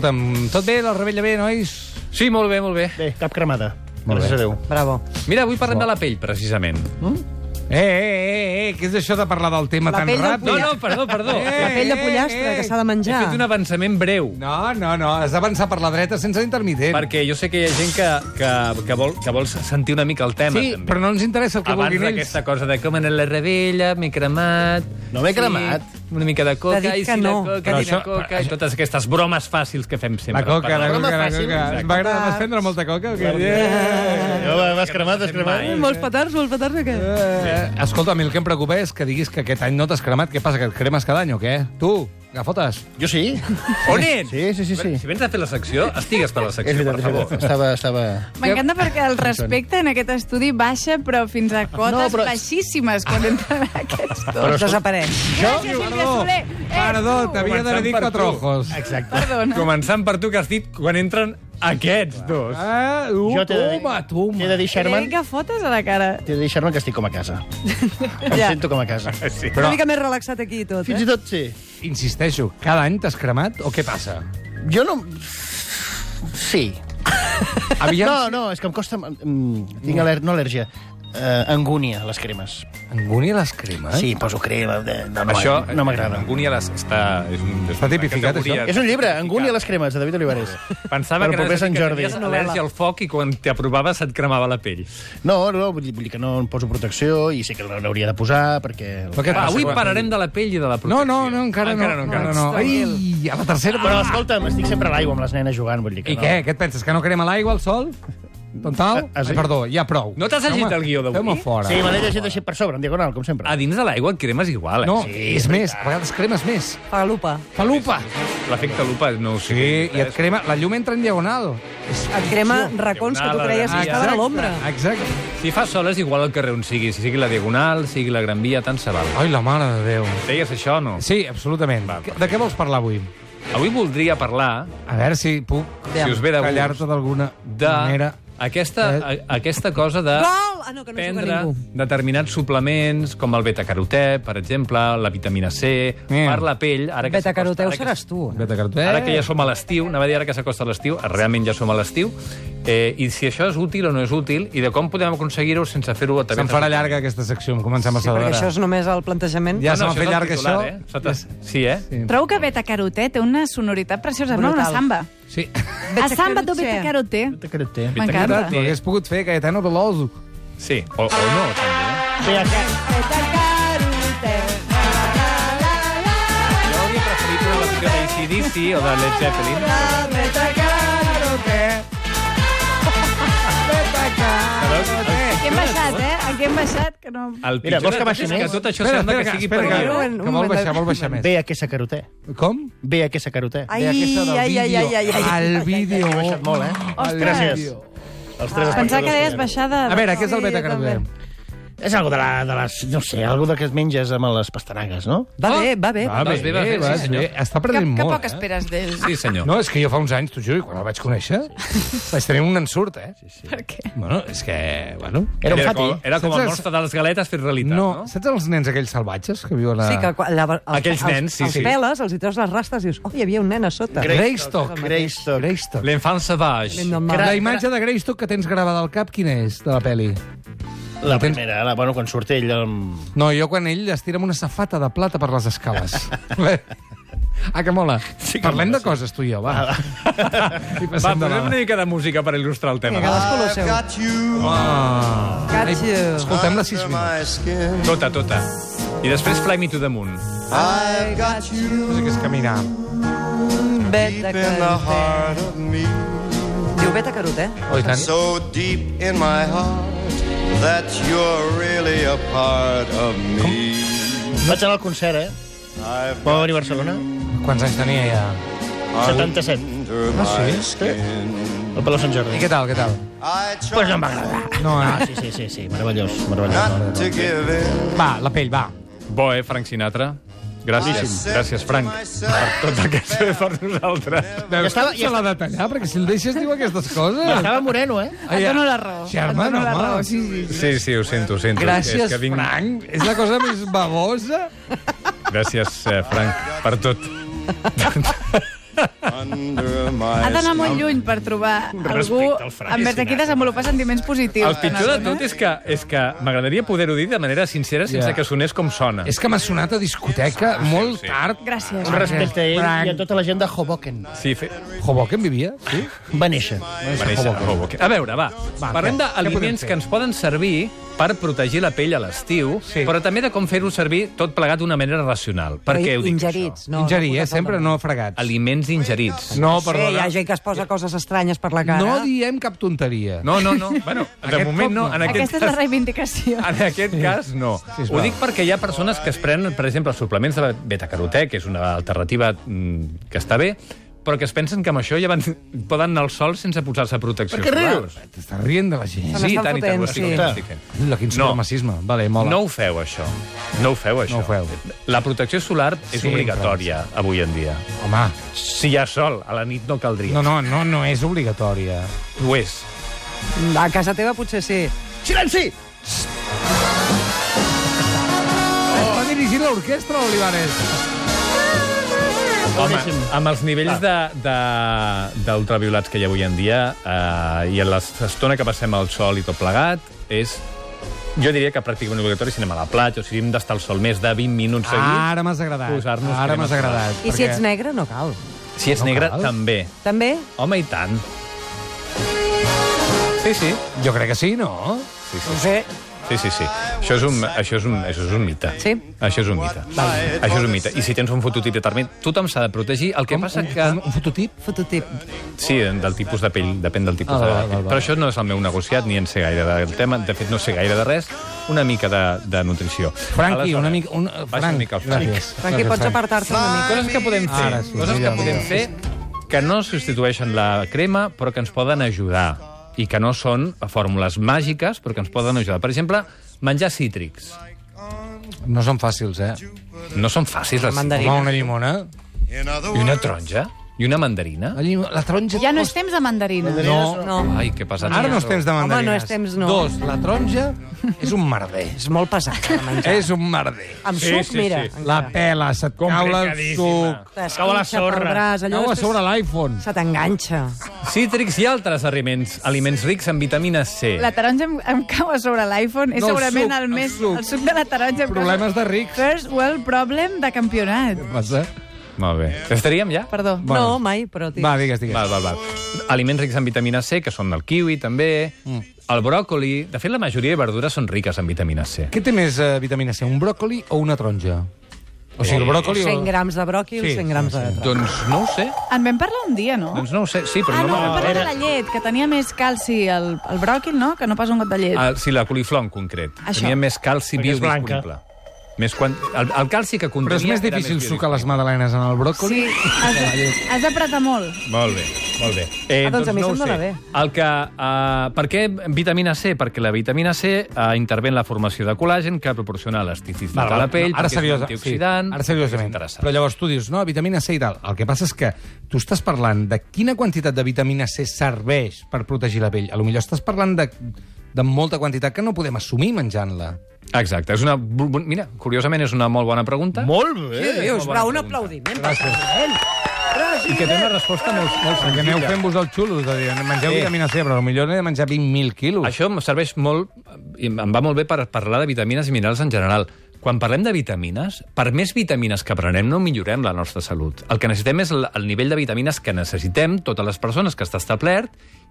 Escolta'm, tot bé? La rebella bé, nois? Sí, molt bé, molt bé. Bé, cap cremada. Molt Gràcies bé. a Déu. Bravo. Mira, avui parlem de la pell, precisament. Eh, eh, eh, eh, què és això de parlar del tema La tan pell de ràpid? No, no, perdó, perdó. Eh, La pell de pollastre, eh, que s'ha de He menjar. fet un avançament breu. No, no, no, has d'avançar per la dreta sense intermitent. Perquè jo sé que hi ha gent que, que, que, vol, que vol sentir una mica el tema, Sí, també. però no ens interessa el que Abans vulguin ells. d'aquesta cosa de com anar a la rebella, m'he cremat... No m'he cremat. Una mica de coca, T'ha dit i que si no. la coca, Però i la això- coca... I totes aquestes bromes fàcils que fem sempre. La coca, la Parlar- coca, la coca. Exacte. M'agrada, vas prendre molta coca? o què? Jo, Eh, vas cremat, Mai. vas cremat. Mm, Molts petards, molts petards, o què? Eh, eh, Escolta, a mi el que em preocupa és que diguis que aquest any no t'has cremat. Què passa, que et cremes cada any o què? Tu, que fotes? Jo sí. On ets? Sí, sí, sí, sí. Si vens a fer la secció, estigues per la És secció, veritat, per és favor. veritat. Estava, estava... M'encanta perquè el respecte en aquest estudi baixa, però fins a cotes No, no, però- però... baixíssimes quan entren aquests dos. Però Desapareix. Gràcies, Sílvia Soler. Eh, Perdó, tu! t'havia de Començant dir per quatre tu. ojos. Exacte. Perdona. Començant per tu, que has dit quan entren aquests dos. Eh, uh, Jo t'he de dir... toma, toma. T'he de dir, Sherman, Crec que fotes a la cara. t'he de dir, Sherman, que estic com a casa. Em Ja. sento com a casa. uh. Sí. Una mica més relaxat aquí i tot, Fins i eh? tot, sí. Insisteixo, cada any t'has cremat o què passa? Jo no... Sí. Aviam No, no, és que em costa... Mm, tinc al·ler... no al·lèrgia. Uh, angúnia, a les cremes. Angúnia les cremes? Sí, poso crema... De... No, no, Això no m'agrada. Angúnia les, està... És un, és Està tipificat, això? És un llibre, Angúnia, a les cremes, de David Olivares. Pensava Per que proper era Sant que Jordi. tenies al·lèrgia al foc i quan t'aprovava se't cremava la pell. No, no, vull dir, vull dir que no em poso protecció i sé que l'hauria de posar perquè... Però què Ah, passa? avui quan- pararem de la pell i de la protecció. No, no, no, encara, encara no. Encara no. no. Ai, a la tercera... Però, Ah! escolta'm, estic sempre a l'aigua amb les nenes jugant, vull dir que I no. què? Què et penses, que no crema l'aigua, el sol? Tontal? Ah, sí? Ai, perdó, ja prou. No t'has llegit el guió d'avui? Feu-me fora. Sí, me l'he llegit així per sobre, en diagonal, com sempre. A dins de l'aigua et cremes igual, eh? No, és més, a vegades cremes més. Palupa. Falupa! L'efecte lupa, no ho sé. Sí, i et crema... La llum entra en diagonal. Et crema racons que tu creies que Ah, estaven a l'ombra. Exacte. Si fa sol és igual al carrer on sigui, si sigui la Diagonal, sigui la Gran Via, tant se val. Ai, la mare de Déu. Deies això o no? Sí, absolutament. Va, De què vols parlar avui? Avui voldria parlar, A veure si puc si us ve de gust, callar-te d'alguna de manera. aquesta, a, aquesta cosa de... Gol! Ah, no, que no juga prendre ningú. determinats suplements, com el betacarotè, per exemple, la vitamina C, Mm. per la pell... Ara que s'acosta- Betacaroteu ara que- seràs tu. eh? Betacarotè. Ara que ja som a l'estiu, anava a dir ara que s'acosta l'estiu, eh, realment ja som a l'estiu, eh, i si això és útil o no és útil, i de com podem aconseguir-ho sense fer-ho... a Se'n través- farà llarga aquesta secció, em comencem a Sí, perquè saber. això és només el plantejament. Ja Ah, se m'ha això fet és el llarg, titular, això. Eh? Sota... Sí, eh? Sí. Trobo que Beta Caroté té una sonoritat preciosa, no? Una Brutal. samba. Sí. A samba de Beta Caroté. Decreté. M'encanta. Ho hagués pogut fer Cayetano Veloso. sí. O, o no, també. Bé, acá... Jo hauria preferit una versió d'ACDC o de Led Zeppelin. Aquí hem baixat, eh? Aquí hem baixat, que no... El Mira, pitjor de vols que tot baixi és més? Que tot això Espera, sembla espera, que que, sigui espera, per que, Un que moment, un vol moment. baixar, vol baixar més. Bé, a què s'acaroté. Com? Bé, a què s'acaroté. Ai, Bé, aquesta del ai, ai, ai, vídeo. ai, ai. El vídeo. He baixat molt, eh? El Gràcies. vídeo. Els tres Pensava espectadors que deies hi ha. baixada... A veure, què és el betacarotè? És algo de, la, de les... No sé, algo de que es menges amb les pastanagues, no? Va bé, va bé. Ah, Doncs bé, bé, va bé, fer, va sí, bé. senyor. Està Que, prenent que molt, eh? poc esperes d'ells. Sí, senyor. No, és que jo fa uns anys, t'ho juro, i quan el vaig conèixer, vaig tenir un ensurt, eh? Per què? Bueno, és que, bueno... Era un fati. com, era com el Saps- monstre de les galetes fet realitat, No, no? saps els nens aquells salvatges que viuen a... Sí, que quan, la, els, Aquells els- nens, sí, els sí. peles, els hi treus les rastes i dius, oh, hi havia un nen a sota. Greystock. Greystock. Greystock. L'enfant savage. Nen normal. La imatge de Greystock que tens gravada al cap, quina és, de la pel·li? La primera, la, bueno, quan surt ell... Amb... No, jo quan ell es tira amb una safata de plata per les escales. ah, que mola. Sí que Parlem mola, de coses, tu i jo, va. I Va, passem de posem la... una mica de música per il·lustrar el tema. Vinga, cadascú el seu. Ah. Got you. Ai, Escoltem la 6 Under minuts. my skin, Tota, tota. I després Fly Me to the Moon. I've got you No sé què és caminar. deep in the Betacarotè. heart of me. Diu betacarotè. Oh, i tant. So deep in my heart that you're really a part of me. Vaig anar al concert, eh? I've got Pobre Barcelona. Quants anys tenia ja? heart 77. Under my skin. El Palau Sant I Jordi. què tal, què tal? I try Pues no em va agradar. No, Ah, eh? sí, sí, sí, sí, meravellós, Ah. meravellós. not to give in. Va, la pell, va. Bo, eh, Frank Sinatra? Gràcies. Gràcies, Frank. Tot el que has fet per nosaltres. Veus, estava- estava, ja se l'ha de tallar, perquè si el deixes diu aquestes coses. Ah, Estava moreno, eh? Ai, Et dono la raó. Germà, Et dono la home. raó, sí, sí. Sí, sí, ho sento, ho sento. Gràcies, És que vinc... Frank. És la cosa més babosa. Gràcies, eh, Frank, per tot. under my Ha d'anar molt stomach. lluny per trobar algú Respecte al Frank envers de qui desenvolupar sentiments positius. El pitjor de en algú, tot és que, és que m'agradaria poder-ho dir de manera sincera sense Ja. que sonés com sona. És que m'ha sonat a discoteca molt tard. Gràcies. Un Respecte a ell Frank. i a tota la gent de Hoboken. Sí, fe... Hoboken vivia? Sí. Va néixer. Va néixer a Hoboken. A veure, va. Va, Parlem què- què d'aliments podem fer? que ens poden servir per protegir la pell a l'estiu, Sí. però també de com fer-ho servir tot plegat d'una manera racional. Per què ho dic, Ingerits. No, No, Ingerir, no eh? Sempre no fregats. això? Aliments ingerits. No, Sí, hi perdona. ha gent que es posa coses estranyes per la cara. Eh. No diem cap tonteria. No, no, no. Bueno, de Aquest moment cop no. no. En aquest Aquesta és la cas, reivindicació. en aquest cas, no. sisplau. Ho dic perquè hi ha persones que es prenen, per exemple, els suplements de la betacarotè, que és una alternativa mm, que està bé, però que es pensen que amb això ja van, poden anar al sol sense posar-se protecció. Per què solar. rius? T'estàs rient de la gent. Se Sí, n'estan tant i tant. fotent, ho estic- sí. ho estic fent. La, quin supremacisme. Vale, mola. No ho feu, això. No ho feu, això. No ho feu. La protecció solar és Sí, obligatòria avui en dia. Home, Si hi ha sol, a la nit no caldria. no, no, no, no és obligatòria. Ho és. A casa teva potser sí. Silenci! Està dirigint l'orquestra, l'Olivares. Home, amb els nivells de- de- d'ultraviolats que hi ha avui en dia eh, i en l'estona que passem al sol i tot plegat, és jo diria que pràcticament obligatori si anem a la platja o si hem d'estar al sol més de 20 minuts seguits. Ara m'has agradat. Posar-nos Ara crema m'has agradat. I si perquè- ets negre, no cal. Si ets No negre, cal. també. També? Home, i tant. Sí, sí. Jo crec que sí, no? Sí, sí. No sé. Sí, sí, sí. Això és un, això és un, això és un mite. Sí. Això és un mite. Això és un mite. I si tens un fototip determinat, tothom s'ha de protegir. El que passa que... Un, un fototip? Fototip. Sí, del tipus de pell, depèn del tipus Ah, de val, pell. val, val. Però això no és el meu negociat, ni en sé gaire del tema. De fet, no sé gaire de res. Una mica de, de nutrició. Franqui, Aleshores, una mica... Un, Baixa una Frank, mica el gràcies. Frank. Franqui, Gràcies, pots Frank. apartar-te una mica. Coses que podem fer. Ara sí, Coses que millor, podem millor. fer que no substitueixen la crema, però que ens poden ajudar i que no són fórmules màgiques, però que ens poden ajudar. Per exemple, menjar cítrics. No són fàcils, eh? No són fàcils les Mandarina. Home, una llimona. In other I una words, taronja? I una mandarina? La, llimo... la taronja... Ja no és temps de mandarina. No, No. Ai, que pesat. ara no és temps de Home, mandarines. no és temps, no. Dos, la taronja és un merder. És molt pesat de menjar. És un merder. Amb Sí, suc, sí, mira. sí. encara. La pela, se't cau el suc. T'esquinxa pel braç, allò Cau a després sobre l'iPhone. Se t'enganxa. Cítrics i altres aliments, aliments rics en vitamina C. La taronja em, em cau a sobre l'iPhone. És No, el segurament suc, el, el més... suc. El suc de la taronja em cau- Problemes de rics. First world problem de campionat. Què passa? Molt bé. Estaríem ja? Perdó. Bueno. No, mai, però... tio. Va, digues, digues. Val, val, val. Aliments rics en vitamina C, que són el kiwi, també, Mm. el bròcoli... De fet, la majoria de verdures són riques en vitamina C. Què té més eh, vitamina C, un bròcoli o una taronja? O sigui, el bròcoli o... 100 grams de bròquil, Sí, 100 grams de... Doncs no ho sé. En vam parlar un dia, no? Doncs no ho sé. Sí, però Ah, no... no, vam me- parlar de la llet, que tenia més calci el, el bròquil, no? Que no pas un got de llet. Ah, sí, la coliflor en concret. Això. Tenia més calci Perquè és biodisponible. blanca. Més quan... el, el calci que Però contenia... és més era difícil sucar biodisponible. les madalenes en el bròcoli? Sí, has, de, has d'apretar molt. Molt bé, molt bé. Eh, Ah, doncs a mi ho se'm dona sé. bé. El que, eh, per què vitamina C? Perquè la vitamina C eh, intervé en la formació de col·làgen que proporciona elasticitat a la pell, ara perquè és un seriosa, sí, antioxidant... ara seriosament. perquè és Però interessant. llavors tu dius, no, vitamina C i tal. El que passa és que tu estàs parlant de quina quantitat de vitamina C serveix per protegir la pell. A lo millor estàs parlant de, de molta quantitat que no podem assumir menjant-la. Exacte, és una... bu- bu- Mira, curiosament és una molt bona pregunta. Molt Què bé! dius? molt bona Va, un pregunta. aplaudiment. Gràcies. I que té una resposta molt, molt Perquè aneu senzilla. fent-vos els xulos, de dir, mengeu Sí. vitamina C, però a lo millor n'he de menjar 20.000 quilos. Això em serveix molt, i em va molt bé per parlar de vitamines i minerals en general. Quan parlem de vitamines, per més vitamines que prenem, no millorem la nostra salut. El que necessitem és l- el nivell de vitamines que necessitem, totes les persones que està establert,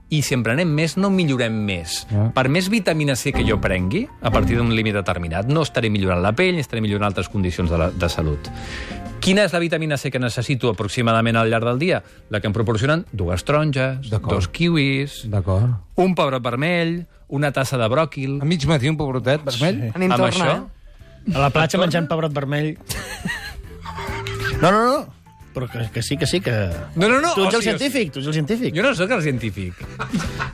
i si en prenem més, no millorem més. Ja. Per més vitamina C que jo prengui, a partir d'un límit determinat, no estaré millorant la pell, ni estaré millorant altres condicions de, la, de salut. Quina és la vitamina C que necessito aproximadament al llarg del dia? La que em proporcionen dues taronges, D'acord. dos kiwis, D'acord. un pebrot vermell, una tassa de bròquil... A mig matí un pobrotet vermell? A mi em Amb torna, això? eh? A la platja menjant pebrot vermell. No, no, no. Però que, que sí, que sí, que... No, no, no. Tu o ets el sí, o científic, tu ets el científic. Jo no sóc el científic.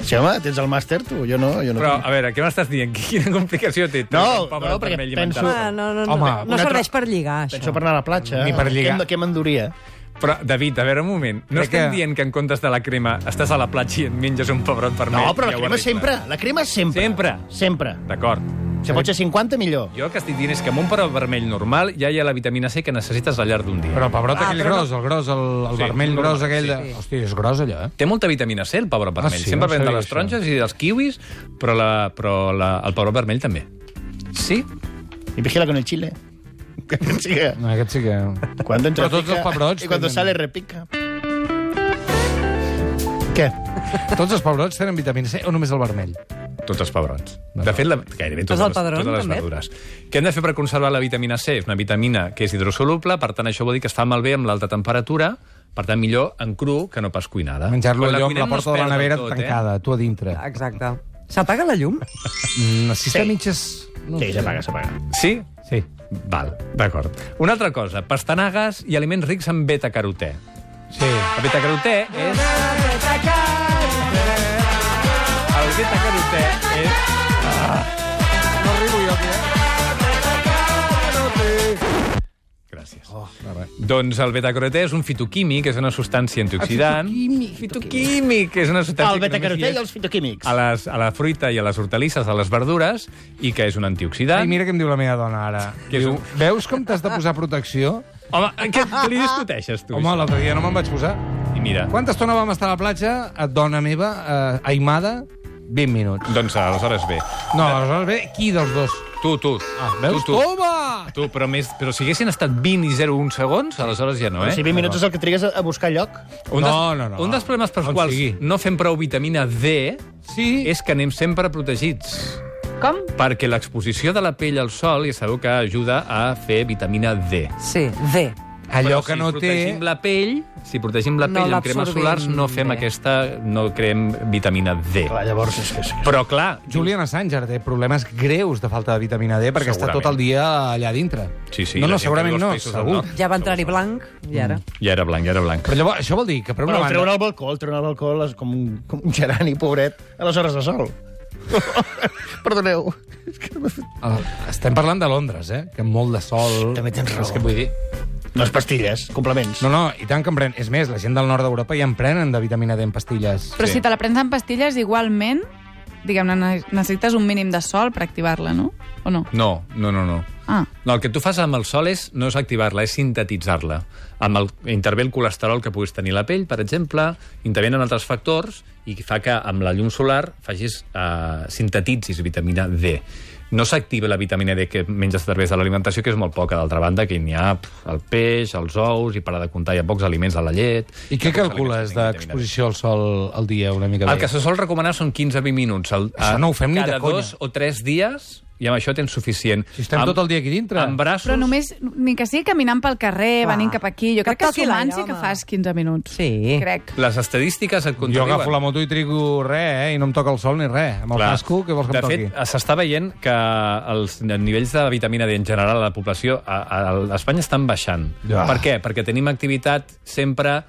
Sí, home, tens el màster, tu. Jo no, jo no. Però, a veure, què m'estàs dient? Quina complicació té? tu, No, un pebrot no, perquè vermell i penso- menjar-lo? Ah, no, no, no. Home, no una serveix per lligar, això. Penso per anar a la platja. Ni per lligar. Què, em- què m'enduria? Però, David, a veure, un moment. No Crec estem que- dient que en comptes de la crema estàs a la platja i et menges un pebrot vermell. No, però i la ho crema arregles. sempre. La crema sempre. Sempre. Sempre. D'acord. Si pot ser 50, millor. Jo el que estic dient és que amb un pebrot vermell normal ja hi ha la vitamina C que necessites al llarg d'un dia. Però el pebrot Ah, aquell però no- gros, el gros, el, el Sí, vermell normal, gros aquell... sí. De... Sí. Hòstia, és gros allò, eh? Té molta vitamina C, el pebrot Ah, vermell. sí? Sempre No ven de sabia les això. taronges i dels kiwis, però, la, però la, el pebrot vermell també. Sí? Y vigila con el chile. Sigue. No, aquest sí que... Cuando entra Pero todos pica, los pebrots Y cuando tienen- sale repica. ¿Qué? Tots els pebrots tenen vitamina C o només el vermell? Tots els pebrots. De fet, la, gairebé Tots totes, el les, pedron, totes les també? verdures. Què hem de fer per conservar la vitamina C? És una vitamina que és hidrosoluble, per tant, això vol dir que es fa malbé amb l'alta temperatura, per tant, millor en cru que no pas cuinada. Menjar-lo Quan allò amb cuinem la no es porta de la perd del nevera tot, eh? tancada, tu a dintre. Exacte. S'apaga la llum? Mm, si està Sí. mitges... No Sí, ho se sé. paga, se paga. Sí? Sí. Val, d'acord. Una altra cosa, pastanagues i aliments rics en beta-carotè. Sí. El betacarotè és... El betacarotè és... Ah. No arribo jo, aquí, eh? Gràcies. Oh, doncs el betacarotè és un fitoquímic, és una substància Ah, antioxidant. fitoquímic, Fitoquímic, és una substància... que El només hi betacarotè és i els fitoquímics. A, les, a la fruita i a les hortalisses, a les verdures, i que és un antioxidant. Ai, mira què em diu la meva dona ara. Que és Diu, un- veus com t'has de posar protecció? Home, què, què li discuteixes, tu? Home, l'altre dia no me'n vaig posar. això? I mira, Quanta estona vam estar a la platja? Eh, Dona meva, eh, aimada, 20 minuts. doncs aleshores bé. No, aleshores bé, qui dels dos? Tu, tu. Ah, veus? Ah. Tu, tu. Toma! Tu, però, més, però si haguessin estat 20 i 01 segons, aleshores ja no, eh? Si 20 minuts és el que trigues a a buscar lloc. Un No, dels, no, no. Un dels problemes pels On quals sigui. no fem prou vitamina D Sí. és que anem sempre protegits. Com? Perquè l'exposició de la pell al sol, ja sabeu que ajuda a fer vitamina D. Sí, D. Allò Però que si no té... protegim la pell, si protegim la No pell amb cremes l'absorbim solars, no fem bé. aquesta... no creem vitamina D. Clar, llavors és que sí. Però, clar... Julian Assange ara té problemes greus de falta de vitamina D perquè està Segurament. tot el dia allà dintre. Sí, sí, no, no, la gent segurament que viu no, als països del segur. nord. Ja va entrar-hi blanc, i ara... Ja era blanc, ja era blanc. Però llavors, això vol dir que per Però una el treuen banda... al balcó, el treuen al balcó les, com, un, com un gerani, pobret, a les hores de sol. Perdoneu. És que no m'he fet- El... eh, Estem parlant de Londres, eh? Que amb molt de sol... També tens raó. És que vull dir... Les pastilles, complements. No, no, i tant que en pren. És més, la gent del nord d'Europa ja en prenen de vitamina D en pastilles. Però Sí. sí. si te la prens amb pastilles, igualment, diguem-ne, ne- necessites un mínim de sol per activar-la, no? O no? No, no, no, no. Ah. No, el que tu fas amb el sol és, no és activar-la, és sintetitzar-la. Amb el, intervé el colesterol que puguis tenir a la pell, per exemple, intervenen altres factors i fa que amb la llum solar facis, eh, sintetitzis vitamina D. No s'activa la vitamina D que menges a través de l'alimentació, que és molt poca, d'altra banda, que n'hi ha pf, el peix, els ous, i parar de comptar, hi ha pocs aliments a la llet... I què Hi ha calcules pocs aliments que tinguin vitamina D. d'exposició al sol al dia una mica El que bé? se sol recomanar són 15-20 minuts. El, eh, Això no ho fem ni de cada conya. dos o tres dies i amb això tens suficient. Si estem tot el dia aquí dintre. Amb braços... Però només, ni que sigui caminant pel carrer, Clar. venint cap aquí, jo Que crec que toqui l'aire, sumant sí que home. fas 15 minuts. Sí. Crec. Les estadístiques et Jo contradiuen. agafo la moto i trigo res, eh? I no em toca el sol ni res. Amb el Clar. casco, què vols que de em toqui? fet, eh, s'està veient que els nivells de vitamina D en general a la població a, a, a Espanya estan baixant. Ja. Per què? Perquè tenim activitat sempre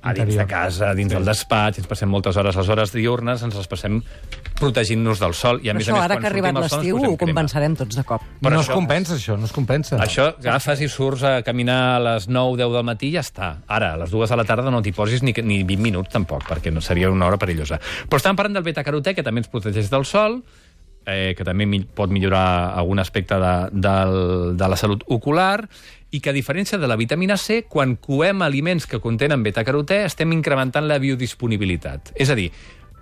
a dins Interior. de casa, dins del despatx, ens passem moltes hores, les hores diurnes ens les passem protegint-nos del sol. I a Però més a això, més, ara quan que ha arribat sortim al sol, ens l'estiu, posem ho crema. compensarem tots de cop. Però però no això- es compensa, això, no es compensa. Això agafes i surts a caminar a les 9, 10 del matí i ja està. Ara, a les 2 de la tarda no t'hi posis ni, ni 20 minuts tampoc, perquè no seria una hora perillosa. Però estàvem parlant del betacarotè, que també ens protegeix del sol, eh, que també mi- pot millorar algun aspecte de, del, de la salut ocular, i que a diferència de la vitamina C, quan coem aliments que contenen betacarotè, estem incrementant la biodisponibilitat. És a dir,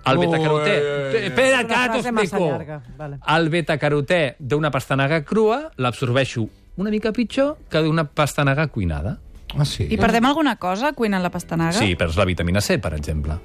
el Ui, betacarotè... ui, ui. Espera, Una que ara frase massa t'explico. llarga, vale. El betacarotè d'una pastanaga crua l'absorbeixo una mica pitjor que d'una pastanaga cuinada. Ah, sí? I perdem alguna cosa cuinant la pastanaga? Sí, perds la vitamina C, per exemple.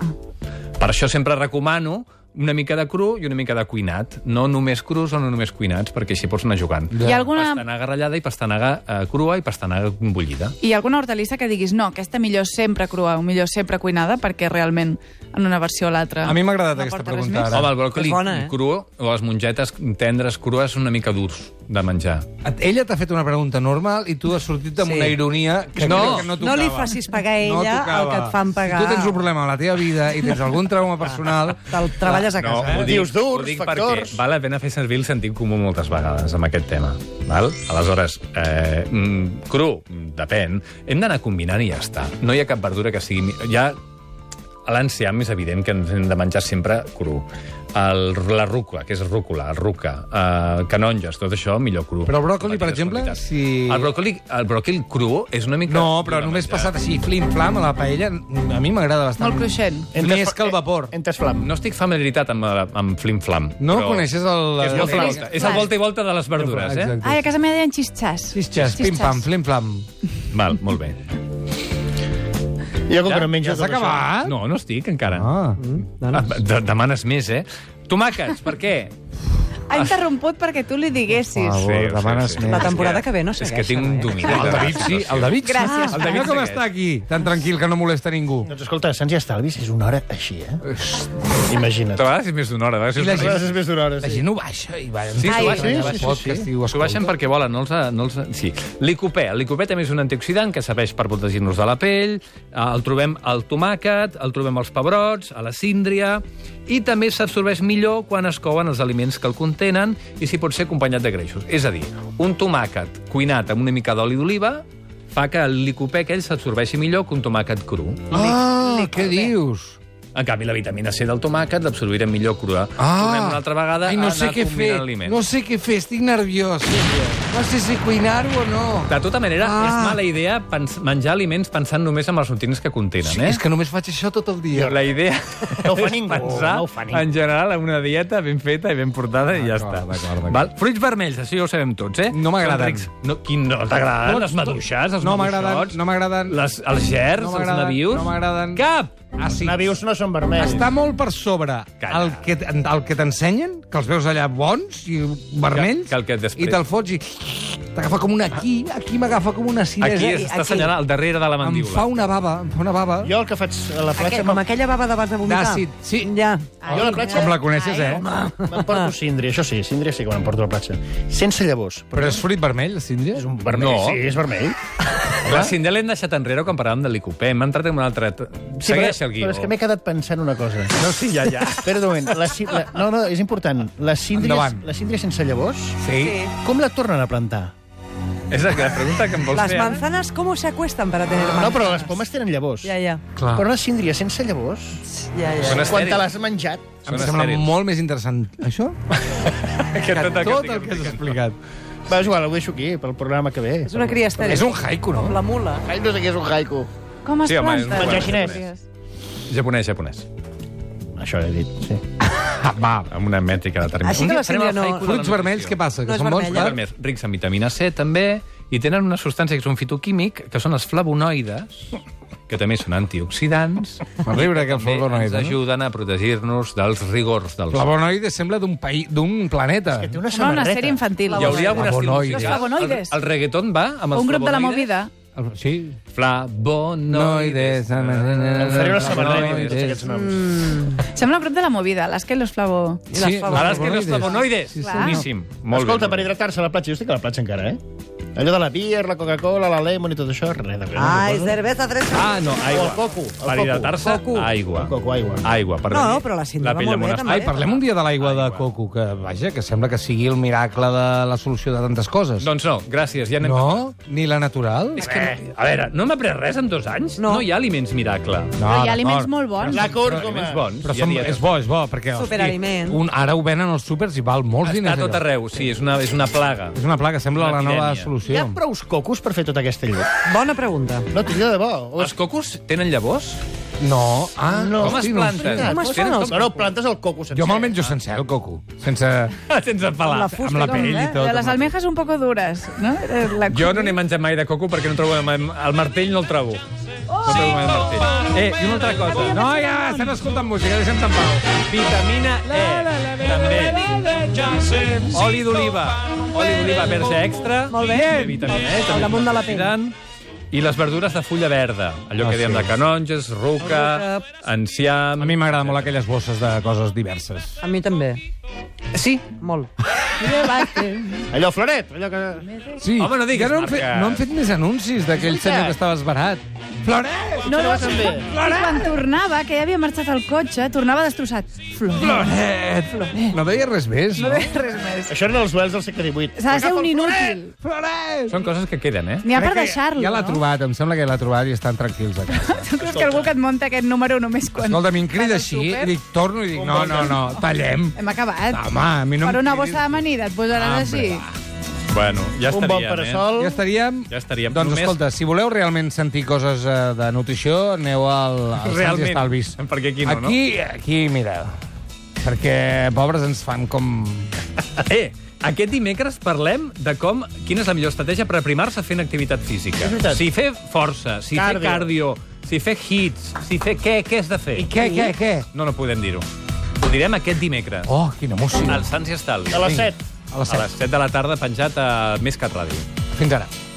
Per això sempre recomano una mica de cru i una mica de cuinat. No només crus o no només cuinats, perquè així pots anar jugant. Hi ha alguna, Pastanaga ratllada i pastanaga eh, crua i pastanaga bullida. hi ha alguna hortalissa que diguis no, aquesta millor sempre crua o millor sempre cuinada perquè realment en una versió o l'altra... A mi m'ha agradat no aquesta aporta res pregunta més? ara. Home, el bròcoli És bona, eh? cru o les mongetes tendres crues són una mica durs de menjar. Et- Ella t'ha fet una pregunta normal i tu has sortit amb Sí. una ironia que No. crec que no tocava. No li facis pagar a ella tocava. el que et fan pagar. Si tu tens un problema a la teva vida i tens algun trauma personal... Te'l treballes a casa. ho eh? Dius durs, ho dic factors. Perquè val la pena fer servir el sentit comú moltes vegades amb aquest tema. Val? Aleshores, eh, mm, cru, mm, depèn, hem d'anar combinant i ja està. No hi ha cap verdura que sigui... mi- Hi ha a l'enciam és evident que ens hem de menjar sempre cru. el, la rúcula, que és rúcula, el ruca, eh, canonges, tot això, millor cru. Però el bròcoli, per Petites exemple, quantitats. si- El bròcoli, el bròcoli cru és una mica... No, però de només menjar. passat així, flim-flam, a la paella, a mi m'agrada bastant. Molt cruixent. Més que el vapor. Entes eh, flam. No estic familiaritzat amb, la- amb flim-flam. No coneixes el- És molt el- flauta. És el volta i volta de les verdures, eh? Exacte. Ai, a casa meva deien xisxàs. Xisxas, pim-pam, flim-flam. Val, molt bé. Jo com que no menjo Ja s'ha tot això. acabat? No, no estic encara. Ah. Ah, de demanes més, eh? Tomàquets, per què? Ha interromput perquè tu li diguessis. favor, ho sé, demanes ho sé. més. La temporada És que ve no És que segueixen, tinc un eh? domini. El David sí, el David sí. Gràcies, El David com segueix. està aquí, tan tranquil que no molesta ningú. Doncs escolta, Sants i Estalvis és una hora així, eh? Imagina't. A vegades és més d'una hora. a vegades és I la una gent- hora. És més d'una hora, La sí. gent ho baixa i va. Sí, s'ho baixen. sí, Sí, sí, sí, sí, sí. S'ho baixen perquè volen, no els... No els sí. Licopè. El licopè també és un antioxidant que serveix per protegir-nos de la pell. Eh, El trobem al tomàquet, el trobem als pebrots, a la síndria... I també s'absorbeix millor quan es couen els aliments que el contenen i si pot ser acompanyat de greixos. És a dir, un tomàquet cuinat amb una mica d'oli d'oliva fa que el licopè aquell s'absorbeixi millor que un tomàquet cru. Ah, què dius? En canvi, la vitamina C del tomàquet l'absorbirem millor crua. Tornem una altra vegada Ah! Ai, no a sé anar què fer. combinant aliments. No sé què fer, estic nerviós. No sé si cuinar-ho o no. De tota manera, ah. Ah. és mala idea pens menjar aliments pensant només en els nutrients que contenen, Sí, eh? és que només faig això tot el dia. La idea No ho fa és ningú, pensar no ho fa ningú. en general en una dieta ben feta i ben portada i ja D'acord, està. d'acord, d'acord. Val? Fruits vermells, això ja ho sabem tots, eh? No m'agraden. Són rics. No, quin no t'agraden? Tots, Les maduixes, els no m'agraden, maduixots, no m'agraden. les, els gers, No els m'agraden, navius... no m'agraden. Cap! Ah, sí. Navius no són vermells. Està molt per sobre Calla. el que, el que t'ensenyen, que els veus allà bons i vermells, que el que després. i te'l fots i t'agafa com una aquí, aquí m'agafa com una acidesa. Aquí i es- està aquí assenyalant al darrere de la Em mandíbula. fa una bava, em fa una bava. Jo el que faig a la platja... Aquell, com aquella bava d'abans de vomitar. D'àcid, sí. Ja. Jo a la platja... Com la coneixes, eh? Me'n porto síndria, això sí, síndria sí que me'n porto a la platja. Sense llavors. Però és fruit vermell, la síndria? És un vermell, No. sí, és vermell. La Cindel l'hem deixat enrere quan parlàvem de l'ICOP. Hem entrat en una altra... Sí, Segueix però, el guió. Però és que m'he quedat pensant una cosa. No, sí, ja, ja. Espera un moment. La, sí- la, no, no, és important. La síndria, Endavant. la síndria sense llavors, Sí. com la tornen a plantar? És la pregunta que em vols Las fer. eh? ara. manzanas, ¿cómo se acuestan para tener manzanas? No, però les pomes tenen llavors. Ja, ja. Clar. Però una síndria sense llavors, ja, ja. Són quan te estèrils. l'has menjat... Em Són sembla estèrils. molt més interessant això que tot, que tot el que has explicat. Va, és igual, ho deixo aquí, pel programa que ve. És una cria estèril. És un haiku, no? La mula. Ai, no sé què és un haiku. Com es Sí, home, és planta? un Menjar xinès. Japonès, japonès. Això he dit, sí. Ah, va, amb una mètrica determinada. Així que la síndria no- Fruits vermells, què passa? No Que és són bons, vermell, clar? eh? Vermells, rics en vitamina C, també, i tenen una substància que és un fitoquímic, que són els flavonoides, que també són antioxidants, Per riure, que el també ens flavonoide. no? ajuden a protegir-nos dels rigors del sol. Flavonoide sembla d'un país, d'un planeta. Que té una Sembla una samarreta. sèrie infantil. Hi hauria alguna estil Flavonoides. musical? Los flavonoides. El, el reggaeton va amb els Un grup de la flavonoides? movida. El- Sí. Flavonoides. Em Faré una samarreta amb tots aquests noms. Sembla un grup de la movida, les que los flavo... Sí, Ara és que no és flavonoides. Sí, sí. Boníssim. Molt Escolta, bé. per hidratar-se a la platja, jo estic a la platja encara, eh? Allò de la beer, la Coca-Cola, la lemon i tot això, res de res. Ai, cerveza fresca. Ah, no, aigua. O el coco, el per coco. hidratar-se, Coco. aigua. El coco, aigua. Aigua, per No, reunir però la síndrome pell molt amb bé, unes- també. Ai, parlem un dia de l'aigua de coco, que, vaja, que sembla que sigui el miracle de la solució de tantes coses. Doncs no, gràcies, ja anem... No? Ni la natural? Eh, És que, no- a veure, no hem après res en dos anys? No. no hi ha aliments miracle. Però hi ha d'acord. aliments molt bons. La còrcoma. Aliments bons. Però hi ha som, dietes. és bo, és bo, perquè... hosti, Superaliment. Un, ara ho venen als súpers i val molts Està diners. a tot allò. arreu, sí, és una, és una plaga. És una plaga, sembla Una la nova epidèmia. Hi ha solució. prou cocos per fer tota aquesta llum? Bona pregunta. No, tinc de debò. O Els és... cocos tenen llavors? No, ah, No. Com es hosti, no ho sé. planten? Com es fan Tenen els com- No, no, plantes el coco sencer. Jo me'l menjo sencer, el coco. Sense... Sense pelar. fusta amb la i tot, pell i eh? tot. Les almejas un poco duras, no? Eh, La... Jo no n'he menjat mai de coco perquè no trobo... El martell no el Oh, trobo. No trobo mai el martell. Eh, i una altra cosa. No, ja, estem escoltant música, deixa'm en pau. Vitamina E, també. Oli d'oliva, oli d'oliva verge extra. Molt bé. I Vitamina E, també. damunt de la pell. antioxidant. I les verdures de fulla verda, allò Ah, que diem sí. de canonges, ruca, Ruca. enciam... A mi m'agraden molt aquelles bosses de coses diverses. A mi també. Sí, Molt. Allò, Floret, allò que... Sí, Home, no diguis ja no, han fet, marques. no han fet més anuncis d'aquell veritat. senyor que estava esbarat. Floret! No, no, també. i quan tornava, que ja havia marxat al cotxe, tornava destrossat. Flor. Floret! No deia res més, no? Res més. Això eren els duels del segle XVIII. S'ha de ser un inútil. Floret! Són coses que queden, eh? N'hi ha per Crec que deixar-lo, Ja l'ha no? trobat, em sembla que l'ha trobat i estan tranquils a casa. Tu creus que algú que et monta aquest número només quan... Escolta, a mi em crida vas al així, súper? i dic, torno i dic, no, no, no, tallem. Hem acabat. Home, a mi no em per una cridis. bossa d'amanida et posaràs Hombre, així. Bueno, ja un bon estaríem, eh? parasol. Ja estaríem... Ja estaríem. Doncs Només- escolta, si voleu realment sentir coses eh, de nutrició, aneu al, al Sants i Realment. Estalvis. Perquè aquí no, no? aquí, no? Aquí, mira, perquè pobres ens fan com... Eh, aquest dimecres parlem de com quina és la millor estratègia per aprimar-se fent activitat física. És veritat. Si fer força, si Cardio. fer cardio, si fer hits, si fer què, què has de fer? I què, què, què? No, no podem dir-ho. Ho direm aquest dimecres. Oh, quina música. Al Sants i Estalvi. A les 7. A les A les 7 de la tarda, penjat a Més Cat Ràdio. Fins ara.